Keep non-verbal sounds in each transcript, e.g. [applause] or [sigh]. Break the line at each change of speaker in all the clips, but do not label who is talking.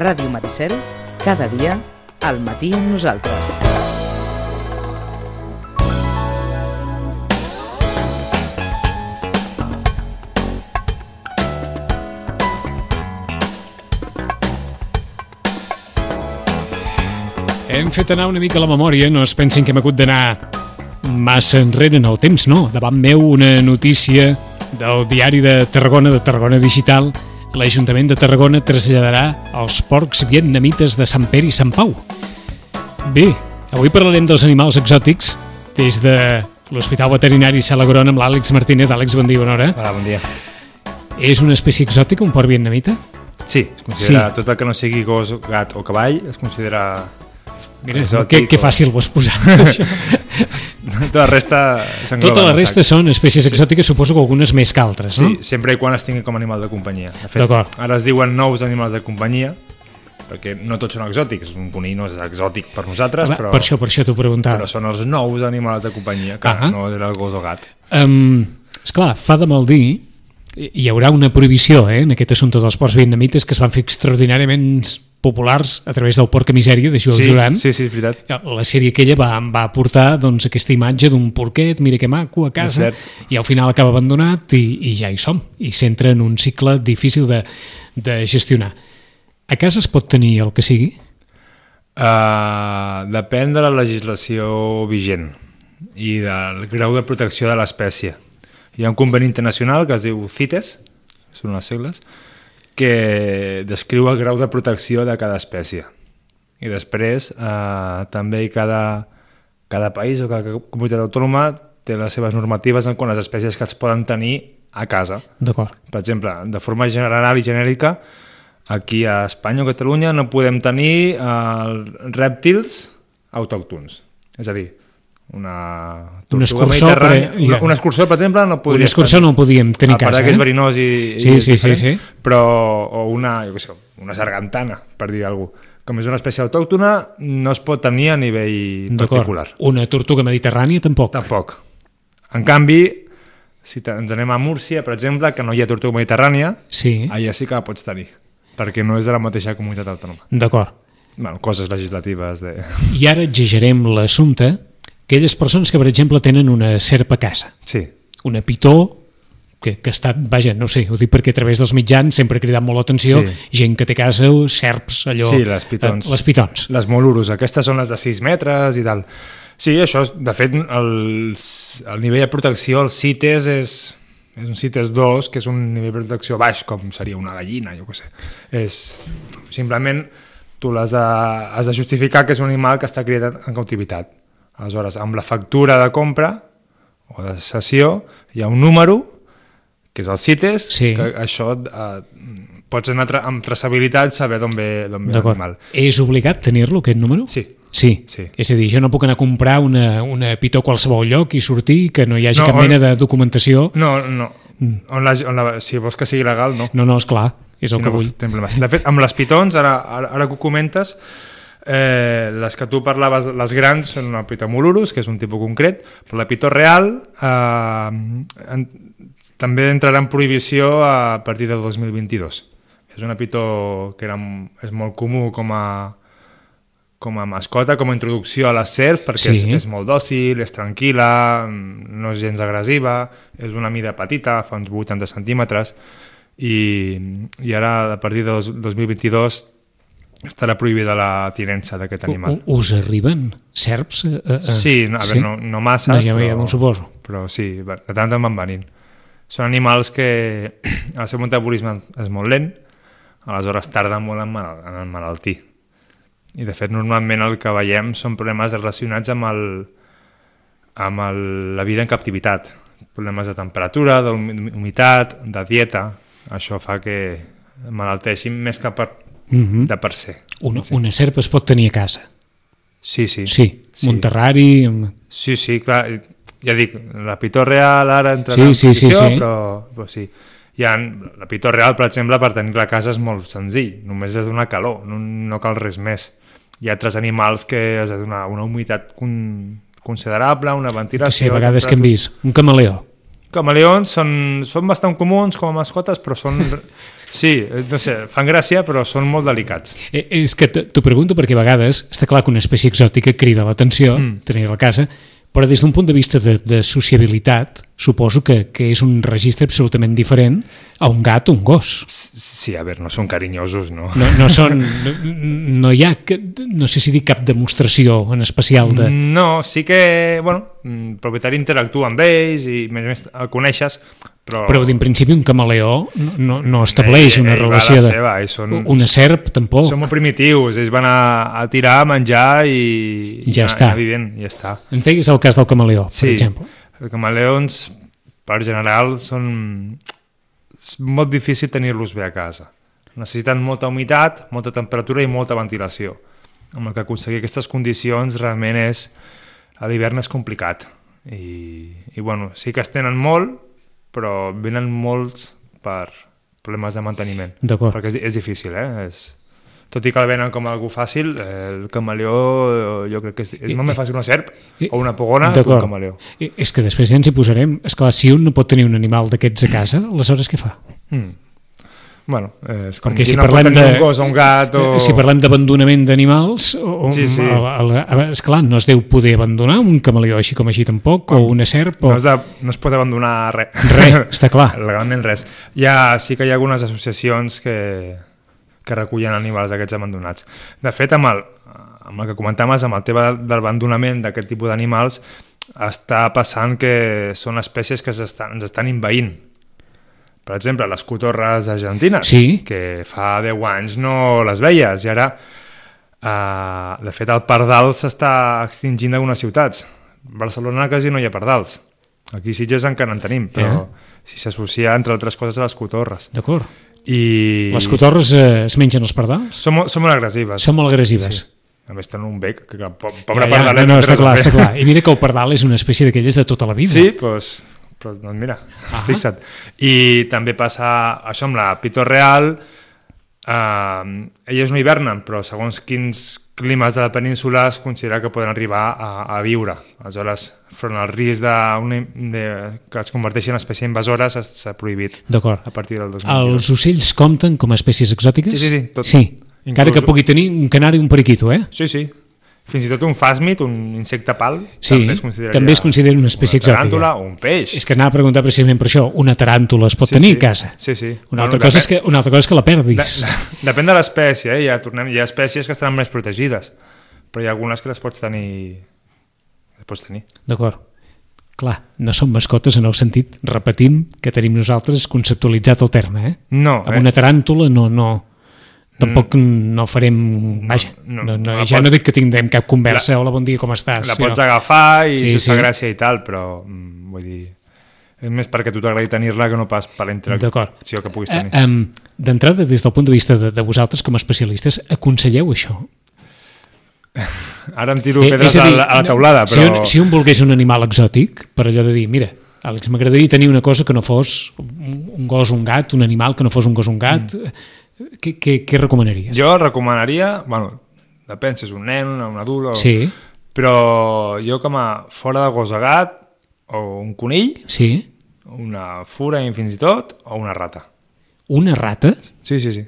Ràdio Maricel, cada dia, al matí amb nosaltres.
Hem fet anar una mica la memòria, no es pensin que hem hagut d'anar massa enrere en el temps, no. Davant meu una notícia del diari de Tarragona, de Tarragona Digital, l'Ajuntament de Tarragona traslladarà els porcs vietnamites de Sant Pere i Sant Pau. Bé, avui parlarem dels animals exòtics des de l'Hospital Veterinari Sala Grona amb l'Àlex Martínez. Àlex, bon dia, bona hora.
Hola, bon dia.
És una espècie exòtica, un porc vietnamita?
Sí, es considera
Sí.
sí. tot el que no sigui gos, gat o cavall, es considera...
Mira,
exòtic
que, que
o-
fàcil ho has posat, això.
[laughs] Tota la resta s'engloba.
Tota la
en el
resta
sac.
són espècies exòtiques, suposo que algunes més que altres,
Sí,
no?
sempre i quan es tingui com a animal de companyia. De fet,
D'acord.
ara es diuen nous animals de companyia, perquè no tots són exòtics. Un conill no és exòtic per nosaltres,
Clar,
però,
Per això, per això t'ho preguntava.
però són els nous animals de companyia, que
Ah.
no era el gos o gat.
Um, esclar, fa de mal dir hi haurà una prohibició eh, en aquest assumpte dels porcs vietnamites que es van fer extraordinàriament populars a través del Porca Misèria de Joel
sí,
Duran.
sí, sí, és veritat.
La sèrie aquella va, va aportar doncs, aquesta imatge d'un porquet, mira que maco, a casa,
És cert.
i al final acaba abandonat i, i ja hi som, i s'entra en un cicle difícil de, de gestionar. A casa es pot tenir el que sigui?
Uh, depèn de la legislació vigent i del grau de protecció de l'espècie. Hi ha un conveni internacional que es diu CITES, són les segles, que descriu el grau de protecció de cada espècie. I després uh, també hi cada, cada país o cada comunitat autònoma té les seves normatives en quant a les espècies que es poden tenir a casa.
D'acord.
Per exemple, de forma general i genèrica, aquí a Espanya o Catalunya no podem tenir eh, rèptils autòctons. És a dir, una
Un
tortuga
escurçó,
mediterrània...
per- ja.
Un escurçó, per exemple, no podria
Un escurçó no el podíem tenir a
a part
casa,
que és
eh?
verinós i,
Sí,
i és
sí, sí,
diferent,
sí.
però o una, jo què sé, una sargantana, per dir alguna cosa. Com és una espècie autòctona, no es pot tenir a nivell particular.
D'acord. Una tortuga mediterrània tampoc.
Tampoc. En canvi, si te- ens anem a Múrcia, per exemple, que no hi ha tortuga mediterrània,
Sí,
allà sí que la pots tenir, perquè no és de la mateixa comunitat autònoma.
d'acord.
Bueno, coses legislatives de... [laughs]
I ara exagerem l'assumpte aquelles persones que, per exemple, tenen una serp a casa,
Sí,
una pitó, que, que ha estat, vaja, no ho sé, ho dic perquè a través dels mitjans sempre ha cridat molt l'atenció,
Sí.
sí. gent que té a casa, serps, allò...
Sí, les pitons.
Eh, les pitons.
les molurus, aquestes són les de 6 metres i tal. Sí, això, és, de fet, el, el nivell de protecció, el CITES E és, és un CITES 2, E que és un nivell de protecció baix, com seria una gallina, jo què sé. És, simplement, tu l'has de, has de justificar que és un animal que està criat en cautivitat. Aleshores, amb la factura de compra o de cessió, hi ha un número, que és el CITES,
Sí.
E que això eh, pots anar tra amb traçabilitat saber d'on ve, d'on ve l'animal.
D'acord. És obligat tenir-lo, aquest número?
Sí.
Sí.
Sí.
és a dir, jo no puc anar a comprar una, una pitó a qualsevol lloc i sortir que no hi hagi
No,
no, cap
on-
mena de documentació.
No, no. On la, on la, si vols que sigui legal, no.
Mm. No, no, és clar, és el
si
que
no,
vull.
té problemes. De fet, amb les pitons, ara, ara, ara que ho comentes, eh, les que tu parlaves, les grans, són una pita molurus, que és un tipus concret, però la pitó real eh, en, també entrarà en prohibició a partir de 2022. És una pitó que era, és molt comú com a, com a mascota, com a introducció a la serp, perquè
Sí.
sí. és, és molt dòcil, és tranquil·la, mm, no és gens agressiva, és una mida petita, fa uns 80 centímetres, i, i ara, a partir de dos- 2022, estarà prohibida la tinença
Uh,
d'aquest animal.
U- Us arriben serps? eh, A, a, a...
Sí, no, a veure, no, no massa,
uh, No, ja, ja m'ho suposo.
però sí, va- de tant en van venint. Són animals que [clears throat] el seu metabolisme és molt lent, aleshores tarda molt en, mal, en malaltir. I de fet, normalment el que veiem són problemes relacionats amb, el, amb el, la vida en captivitat. Problemes de temperatura, d'humitat, de dieta. Això fa que malalteixin més que per,
Mm -hmm.
de per ser.
Una, una serp es pot tenir a casa.
Sí, sí.
Sí, sí. un terrari... amb-
Sí, sí, clar, ja dic, la pitó real ara entra
Sí,
en
sí, sí,
competició,
sí.
però, però sí. Hi ha, la pitó real, per exemple, per tenir la casa és molt senzill, només és donar calor, no, no cal res més. Hi ha altres animals que has de donar una humitat con, considerable, una
No sé,
ventilació...
a vegades que hem vist un camaleó.
Camaleons són, són bastant comuns com a mascotes, però són...
[laughs]
Sí, eh, no sé, fan gràcia, però són molt delicats.
Eh, És que t- t'ho pregunto perquè a vegades està clar que una espècie exòtica crida l'atenció, mm. tenir la casa, però des d'un punt de vista de, de sociabilitat suposo que, que és un registre absolutament diferent a un gat o un gos.
Sí, a veure, no són carinyosos, no?
No, no són... No, no hi ha... que- No sé si dir cap demostració en especial de...
No, sí que, bueno, mm, el propietari interactua amb ells i, a més a més, el coneixes, però...
Però en principi un camaleó no, no, no estableix
Ell-
una
Oh. Eh, ell va a la
relació de...
seva, mm. ells són-
Una serp tampoc.
Són molt primitius, ells van a, a tirar, a menjar i... i
Ja
anar-
està.
Anar vivint, ja està.
Em deies el cas del camaleó, per exemple.
Els camaleons, per general, són... És molt difícil tenir-los bé a casa. Necessiten molta humitat, molta temperatura i molta ventilació. Amb el que aconseguir aquestes condicions realment és... A l'hivern és complicat. I, I, bueno, sí que es tenen molt, però venen molts per problemes de manteniment.
D'acord.
Perquè és, di- és difícil, eh? És, tot i que el venen com algú fàcil, eh, el camaleó eh, jo crec que és, és molt més fàcil una serp
I-
o una pogona que un
D'acord.
camaleó.
I- És que després ja ens hi posarem. Esclar, si un no pot tenir un animal d'aquests a casa, aleshores què fa?
Mm. Bueno, eh, és com
Perquè
dir,
si
no pot
parlem
tenir
de-
un gos o un gat o...
Eh, Si parlem d'abandonament d'animals, o- o-
Sí, sí.
a la- a la- esclar, no es deu poder abandonar un camaleó així com així tampoc, o una serp, o...
no, es de, no es pot abandonar res.
Res,
[laughs]
està clar.
Legalment res. Hi ha, sí que hi ha algunes associacions que, que recullen animals d'aquests abandonats. De fet, amb el, amb el que comentaves, amb el tema de l'abandonament d'aquest tipus d'animals, està passant que són espècies que s'estan- ens estan envaint. Per exemple, les cotorres argentines,
Sí.
que fa 10 anys no les veies, i ara Uh, de fet, el pardal s'està extingint d'algunes ciutats. A Barcelona quasi no hi ha pardals. Aquí Sitges encara en tenim, però si s'associa, entre altres coses, a les cotorres.
D'acord.
I...
Les cotorres eh, es mengen els pardals?
Són, molt- són molt agressives.
Són molt agressives.
A més, tenen un bec, que, que po-
Ja,
pobre eh,
ja,
pardalet.
no, no,
té
està
res a
clar,
fer.
està clar. I mira que el pardal és una espècie d'aquelles de tota la vida.
[laughs] Sí, doncs, però, doncs mira,
Ah.
fixa't. I també passa això amb la pitor real, eh, elles no hivernen, però segons quins climes de la península es considera que poden arribar a, a viure. Aleshores, front al risc de, una, de que es converteixin en espècie invasora, s'ha- s'ha prohibit
D'acord.
a partir del 2000.
Els ocells compten com a espècies exòtiques?
Sí, sí, sí, tot.
Sí. Encara
Inclús-
que pugui tenir un canari i un periquito, eh?
Sí, sí. Fins i tot un fàsmid, un insecte pal,
Sí,
consideraria
també es considera una espècie
una taràntula o un peix.
És que anava a preguntar precisament per això. Una taràntula es pot
Sí,
tenir
sí.
a casa?
Sí, sí.
Una,
Bueno,
altra cosa és
depèn-
que, una altra cosa és que la perdis.
De- Depèn de l'espècie, eh? ja tornem, hi ha espècies que estaran més protegides, però hi ha algunes que les pots tenir... Les pots tenir.
D'acord. Clar, no són mascotes en el sentit, repetim, que tenim nosaltres conceptualitzat el terme, eh?
No,
Amb
eh?
una taràntula no... no Tampoc no farem... Vaja, no,
Mm. no,
no,
la
ja
pots-
no dic que tindrem cap conversa, hola, bon dia, com estàs?
La
sinó-
pots agafar i
Sí,
sí,
sí.
sí. gràcia i tal, però mm, vull dir... És més perquè a tu t'agradi tenir-la que no pas per la
D'acord.
interacció que puguis tenir.
Eh, em, D'entrada, des del punt de vista de, de vosaltres com a especialistes, aconselleu això?
Ara em tiro
Eh,
pedres
és
a,
dir,
la, a la taulada,
Si un,
però...
si un volgués un animal exòtic, per allò de dir, mira, Àlex, m'agradaria tenir una cosa que no fos un un gos, un gat, un animal que no fos un gos, un gat, mm. què, què, què recomanaries?
Jo recomanaria... Bueno, depèn si és un nen, una, un adult... O...
Sí,
Però jo com a fora de gos o gat, o un conill,
sí.
una fura i fins i tot, o una rata.
Una rata?
Sí, sí, sí.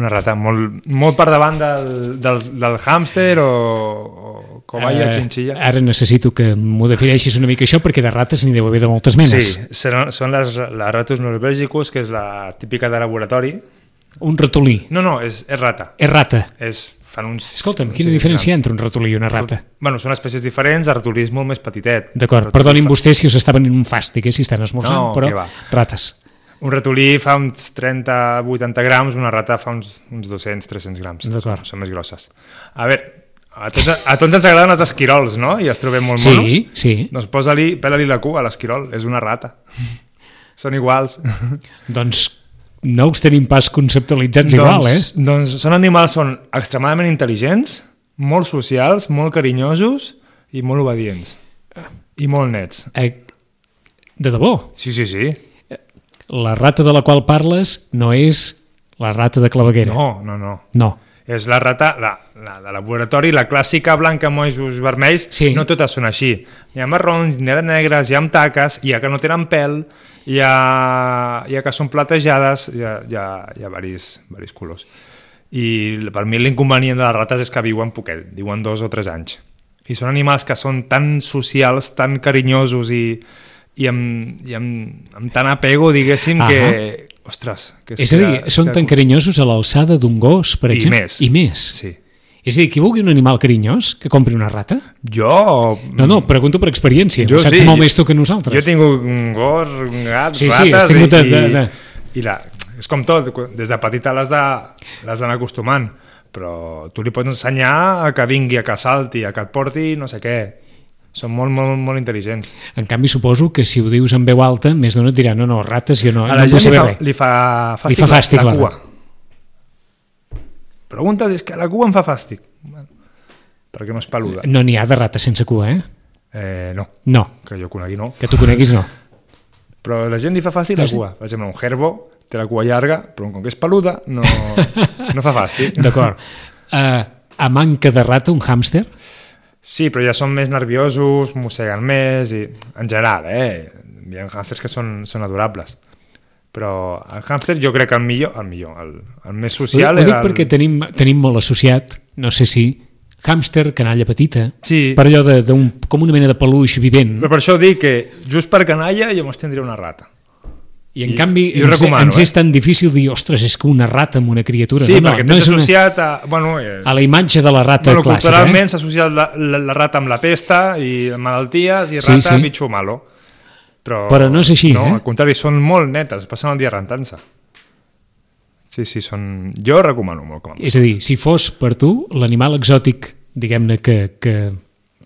Una rata molt, molt per davant del, del, del hàmster o, o covalla,
Eh,
uh, xinxilla.
Ara necessito que m'ho defineixis una mica això perquè de rates n'hi deu haver de moltes menes.
Sí, seran, són les, les rates norbègicus, que és la típica de laboratori.
Un ratolí.
No, no, és, és rata.
És rata.
És, fan uns...
Escolta'm,
uns
quina
cisnes
diferència hi ha
grans.
entre un ratolí i una rata?
Bueno, són espècies diferents, el ratolí és molt més petitet.
D'acord,
El ratolí
perdonin
fa-
vostès si us estaven en un fàstic, eh, si estan esmorzant,
No,
però
què va.
rates.
Un ratolí fa uns 30-80 grams, una rata fa uns, uns 200-300 grams.
D'acord.
Són més grosses. A veure, a tots, a tots ens agraden els esquirols, no? I els trobem molt
Sí,
monos.
sí.
Doncs posa-li, pela-li la cua a l'esquirol, és una rata. Són iguals.
Doncs no els tenim pas conceptualitzats igual, eh?
doncs, doncs són animals, són extremadament intel·ligents, molt socials, molt carinyosos i molt obedients. I molt nets.
eh? De debò,
Sí, sí, sí.
la rata de la qual parles no és la rata de claveguera.
No, no, no.
No.
És la rata, la, la de laboratori, la clàssica blanca amb mojos vermells,
Sí.
no totes són així. Hi ha marrons, n'hi ha de negres, hi ha amb taques, hi ha que no tenen pèl, hi ha, hi ha que són platejades, hi ha, hi ha, hi ha varis, varis colors. I per mi l'inconvenient de les rates és que viuen poquet, diuen dos o tres anys. I són animals que són tan socials, tan carinyosos i, i, amb, i amb, amb tant apego, diguéssim,
Ahà.
que... Ostres, que
És a dir,
que-
són
que-
tan carinyosos a l'alçada d'un gos, per
I
exemple.
més.
I més.
Sí.
És a dir, qui vulgui un animal carinyós, que compri una rata?
Jo...
No, no, pregunto per experiència.
Mm. Jo
ho saps
sí.
molt més tu que
Jo he
nosaltres.
tingut un gos, un gat,
Sí, sí,
rates...
has tingut
i,
de- de- de-
I, i la, és com tot, quan- des de petita l'has de- l'has d'anar acostumant, però tu li pots ensenyar a que vingui, a que salti, a que et porti no sé què. Són molt, molt, molt intel·ligents.
En canvi, suposo que si ho dius en veu alta, més d'una et dirà, no, no, rates, jo no, eh,
A
no
la
vull
gent li
saber
fa,
res.
li fa fàstic,
fa fàstic,
la,
la
la cua.
rata.
Preguntes, és que la cua em fa fàstic. Bueno, perquè no és peluda.
No n'hi ha de rates sense cua, eh?
Eh, no,
No,
que jo conegui no.
que tu coneguis no.
Però la gent li fa fàstic la
Ah, sí?
cua. Per exemple, un gerbo té la cua llarga, però com que és peluda,
[laughs]
no, no fa fàstic. [laughs]
D'acord. Uh, a manca de rata, un hàmster?
Sí, però ja són més nerviosos, mosseguen més, i en general, eh? Hi ha hàmsters que són, són adorables. Però el hàmster jo crec que el millor, el millor, el, el més social...
ho dic
era el...
perquè tenim, tenim molt associat, no sé si, hàmster, canalla petita,
Sí.
per allò de, d'un, com una mena de peluix vivent.
Però per això dic que just per canalla jo mos tindria una rata.
I en canvi
jo ho
ens,
recomano,
ens
eh?
és tan difícil dir, ostres, és que una rata amb una criatura...
Sí,
no, no,
perquè
no
t'has
és una,
associat a... Bueno, eh,
a la imatge de la rata
bueno
clàssica.
culturalment s'ha associat la, la, la rata amb la pesta i malalties i
Sí,
rata sí,
sí.
sí. bitxo malo. Però,
Però no és així,
no,
eh?
al contrari, són molt netes, passen el dia rentant-se. Sí, sí, són... Jo recomano molt com a...
Eh? És a dir, si fos per tu, l'animal exòtic, diguem-ne, que, que,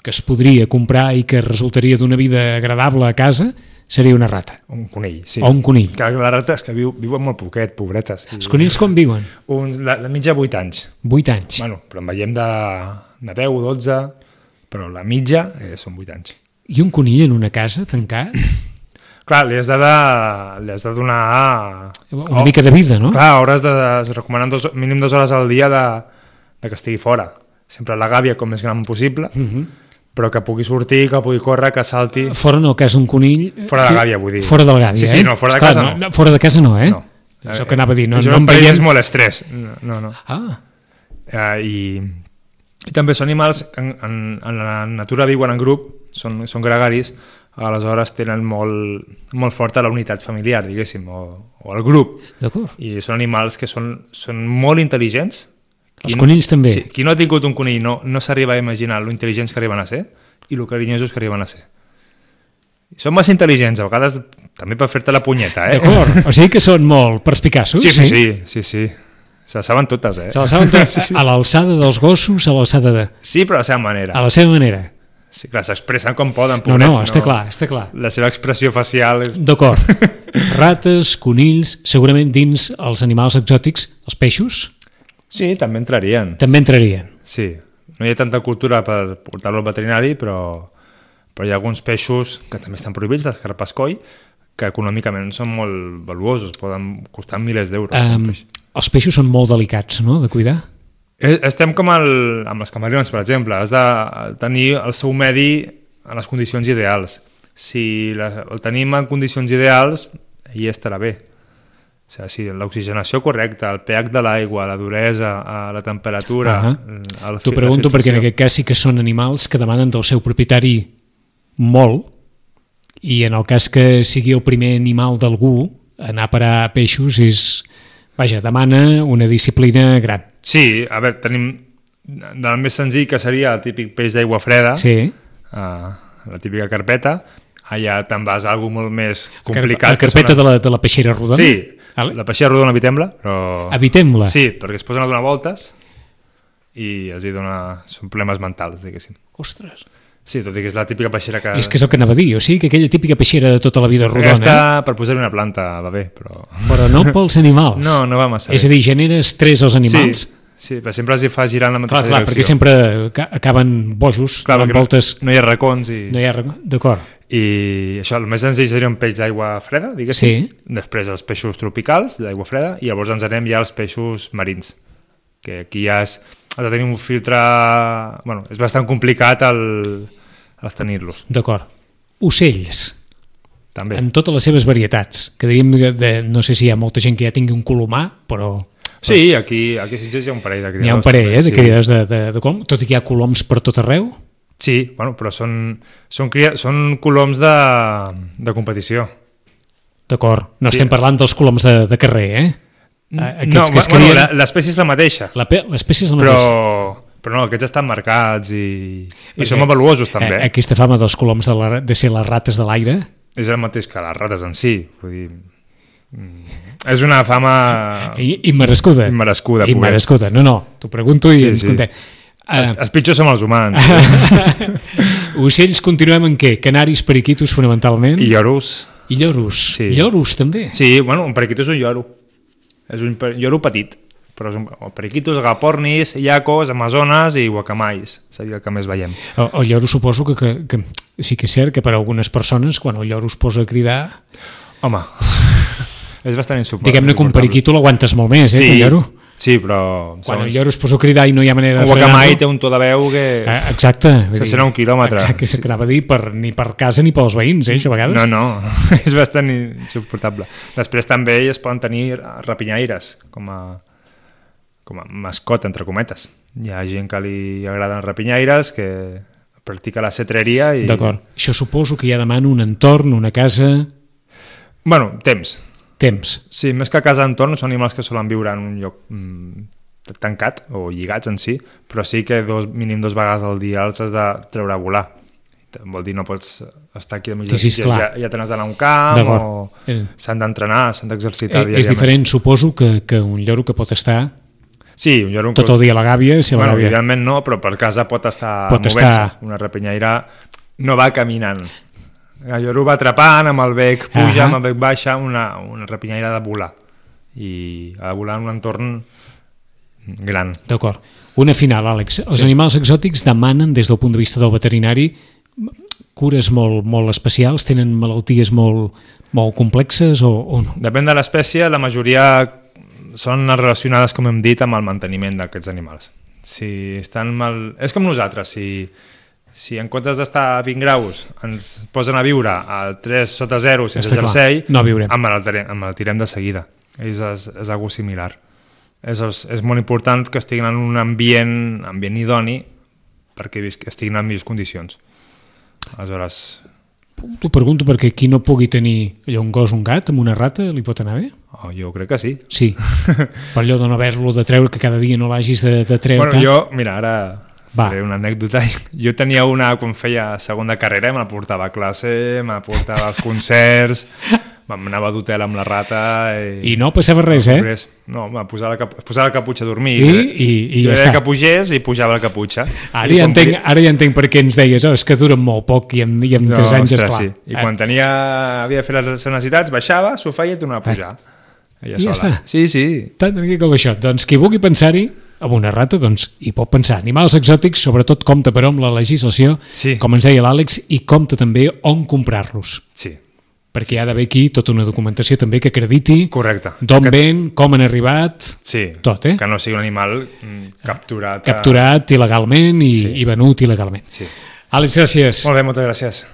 que es podria comprar i que resultaria d'una vida agradable a casa, seria una rata.
Un conill, sí.
O un conill.
Que les rates que viu, viuen molt poquet, pobretes.
Els conills com viuen?
Uns, la, la mitja 8 anys.
8 anys.
Bueno, però en veiem de, de 10 o 12, però la mitja eh, són 8 anys.
I un conill en una casa tancat?
Clar, li has de, de, li has de donar...
Una mica de vida, no?
Oh, Clar, hores de, es recomanen dos, mínim dues hores al dia de, de que estigui fora. Sempre la gàbia com més gran possible, uh
Mhm.
-huh. però que pugui sortir, que pugui córrer, que salti...
Fora no, cas un conill... eh,
Fora de la gàbia, vull dir.
Fora de la gàbia,
Sí, sí,
eh?
no, fora de
Esclar,
casa no.
Fora de casa no, eh?
No.
Això que anava a dir, no,
Això
no en
per ells
veiem...
és molt estrès. No, no. no.
Ah,
Eh, i, I també són animals, en, en, en la natura viuen en grup, són, són gregaris, aleshores tenen molt, molt forta la unitat familiar, diguéssim, o, o el grup.
d'acord.
I són animals que són, són molt intel·ligents.
Els conills també.
Sí, qui no ha tingut un conill no, no s'arriba a imaginar lo intel·ligents que arriben a ser i lo carinyosos que arriben a ser. Són massa intel·ligents, a vegades també per fer-te la punyeta, eh?
D'acord. O sigui que són molt perspicaços.
[laughs] Sí, sí, sí, sí, sí. Se la saben totes, eh?
Se la saben tots a l'alçada dels gossos, a l'alçada de...
Sí, però a la seva
A
manera.
la seva manera.
Sí, clar, s'expressen com poden,
Ah. No,
pobrets,
no, està clar, està clar.
La seva expressió facial és...
D'acord. Rates, conills, segurament dins els animals exòtics, els peixos,
Sí, també entrarien.
també entrarien.
Sí, no hi ha tanta cultura per portar-lo al veterinari, però, però hi ha alguns peixos que també estan prohibits, les carpes coi, que econòmicament són molt valuosos, poden costar milers d'euros.
Um,
un peix.
els peixos són molt delicats, no?, de cuidar.
Eh, Estem com el, amb els camaleons, per exemple. Has de tenir el seu medi en les condicions ideals. Si la, el tenim en condicions ideals, hi estarà bé. O sigui, si l'oxigenació correcta, el pH de l'aigua, la duresa, eh, la temperatura...
Ahà.
el fi-
T'ho
la
pregunto perquè en
filtració.
aquest cas sí que són animals que demanen del seu propietari molt i en el cas que sigui el primer animal d'algú, anar a parar a peixos és... Vaja, demana una disciplina gran.
Sí, a veure, tenim del més senzill que seria el típic peix d'aigua freda,
Sí.
eh, la típica carpeta, allà te'n vas a alguna molt més complicat.
La carpeta de la, de la peixera rodona?
Sí,
Vale.
la peixera rodona vitembla, però...
Evitem-la.
Sí, perquè es posen a donar voltes i els hi dona... són problemes mentals, diguéssim.
Ostres.
Sí, tot i que és la típica peixera que...
És que és el que anava a dir, o sigui que aquella típica peixera de tota la vida rodona,
Aquesta, per posar-hi una planta, va bé, però...
però no pels animals.
No, no va massa
és a dir, genera estrès als animals.
Sí, sí, però sempre els hi fa girar en la
Clar,
mateixa
clar, perquè
direcció.
sempre ca- acaben bojos, clar, donant
perquè no-
voltes...
No hi ha racons i...
No hi ha... re- D'acord.
I això, el més senzill seria un peix d'aigua freda, diguéssim.
Sí.
Després els peixos tropicals d'aigua freda i llavors ens anem ja als peixos marins. que aquí ja és, has de tenir un filtre... Bueno, és bastant complicat el, el tenir-los,
D'acord. Ocells,
també.
en totes les seves varietats, que diríem de, de, no sé si hi ha molta gent que ja tingui un colomar, però
Sí, aquí, aquí a Sitges hi ha un parell de criadors.
n'hi ha un parell eh, de
sí.
criadors de, de, de colom, tot i que hi ha coloms per tot arreu.
Sí, bueno, però són, són, cria... són coloms de, de competició.
D'acord, no
Sí. Mm.
estem parlant dels coloms de, de carrer, eh? A- Aquests
no,
que es
bueno,
crien...
la- l'espècie és la mateixa,
la... pe- L'espècie és la
però,
mateixa.
però no, aquests estan marcats i, i
Perquè,
són avaluosos també.
Eh, Aquesta fama dels coloms de, la, de ser les rates de l'aire,
És el mateix que les rates en si. Vull dir, mm, és una fama...
i, i merescuda.
Immerescuda,
I
pobrets.
merescuda. No, no, t'ho pregunto i
Sí,
sí, ens
sí. Eh,
sí. conté. Uh,
Els pitjors som els humans.
[laughs] ocells continuem en què? Canaris, periquitos fonamentalment
I lloros.
i lloros.
Sí.
Lloros també.
Sí, bueno, un periquito és un lloro. És un per- lloro petit. Però és un... o periquitos, agapornis, iacos, amazones i guacamais. Seria el que més veiem.
El, el lloro suposo que, que, que sí que és cert que per a algunes persones quan el lloro es posa a cridar
Home, és bastant insuportable.
diguem-ne que un periquito l'aguantes molt més, eh, que el lloro.
Sí, però... em
Quan el
sembla-
lloro es posa a cridar i no hi ha manera
Un
de frenar-lo...
guacamai té un to de veu que...
Eh, Exacte. vull
Se
dir-
serà un quilòmetre.
Exacte, que s'acaba de dir per, ni per casa ni pels veïns, eh, això a vegades.
No, no, [laughs] és bastant insuportable. Després també es poden tenir rapinyaires com a, com a mascota, entre cometes. Hi ha gent que li agraden els rapinyaires, que practica la cetreria i...
D'acord. Això suposo que ja demana un entorn, una casa,
Bueno, temps.
temps.
Sí, més que casa entorn, són animals que solen viure en un lloc mm, tancat o lligats en si, però sí que dos, mínim dos vegades al dia els has de treure a volar. Vol dir, no pots estar aquí de mitja
Sí, sí,
ja,
esclar.
ja te n'has d'anar a un camp o
D'acord. Eh.
s'han d'entrenar, s'han d'exercitar
Eh, és diferent, suposo, que, que un lloro que pot estar
Sí, un lloro...
tot el dia a la gàbia, si a la
Bueno,
gàbia...
idealment no, però per casa pot estar
Pot
movent-se.
estar-
Una rapinyaire no va caminant. El lloro va atrapant, amb el bec
Ahà.
puja, amb el bec baixa, una, una rapinyaire ha de volar. I ha de volar en un entorn gran.
D'acord. Una final, Àlex. Els sí. animals exòtics demanen, des del punt de vista del veterinari, cures molt, molt especials? Tenen malalties molt, molt complexes o, o no?
Depèn de l'espècie, la majoria són relacionades, com hem dit, amb el manteniment d'aquests animals. Si estan mal... És com nosaltres, si, si en comptes d'estar a 20 graus ens posen a viure a 3 sota 0 sense
Està clar,
jersei,
no viurem.
emmalaltirem- emmalaltirem de seguida. És, és, és algo similar. És, és, és molt important que estiguin en un ambient, ambient idoni perquè vis- estiguin en millors condicions. Aleshores,
T'ho pregunto perquè qui no pugui tenir allò, un gos, un gat, amb una rata, li pot anar bé?
oh, jo crec que sí. [laughs]
Sí. per allò de no haver-lo de treure, que cada dia no l'hagis de, de treure.
Bueno, jo, mira, ara
Va.
faré una anècdota. [laughs] Jo tenia una, quan feia segona carrera, me la portava a classe, me la portava
[laughs]
als concerts, me'n anava d'hotel amb la rata... I,
I no passava res, eh?
Res. No, me posava la, cap es posava la caputxa a dormir.
I- i- i
jo
ja
era
està.
que pugés i pujava la caputxa.
Ara
I
ja,
quan
entenc,
podia-
ara ja entenc per què ens deies, oh, és que duren molt poc i en, i en no, 3 anys, Eh,
ostres,
esclar.
Sí. I quan tenia, havia de fer les necessitats, baixava, s'ho feia i tornava a pujar. Ella
Eh. I ja
sola.
està.
Sí, sí.
Tan tranquil com això. Doncs qui vulgui pensar-hi, amb una rata, doncs hi pot pensar. Animals exòtics, sobretot compta però amb la legislació,
Sí.
com ens deia l'Àlex, i compta també on comprar-los.
Sí,
Perquè hi ha d'haver aquí tota una documentació també que acrediti
correcte.
d'on ven, com han arribat,
Sí,
Tot, eh?
que no sigui un animal mm, capturat. a-
capturat il·legalment i,
Sí.
i venut il·legalment.
Sí.
Àlex, gràcies.
Molt bé, moltes gràcies.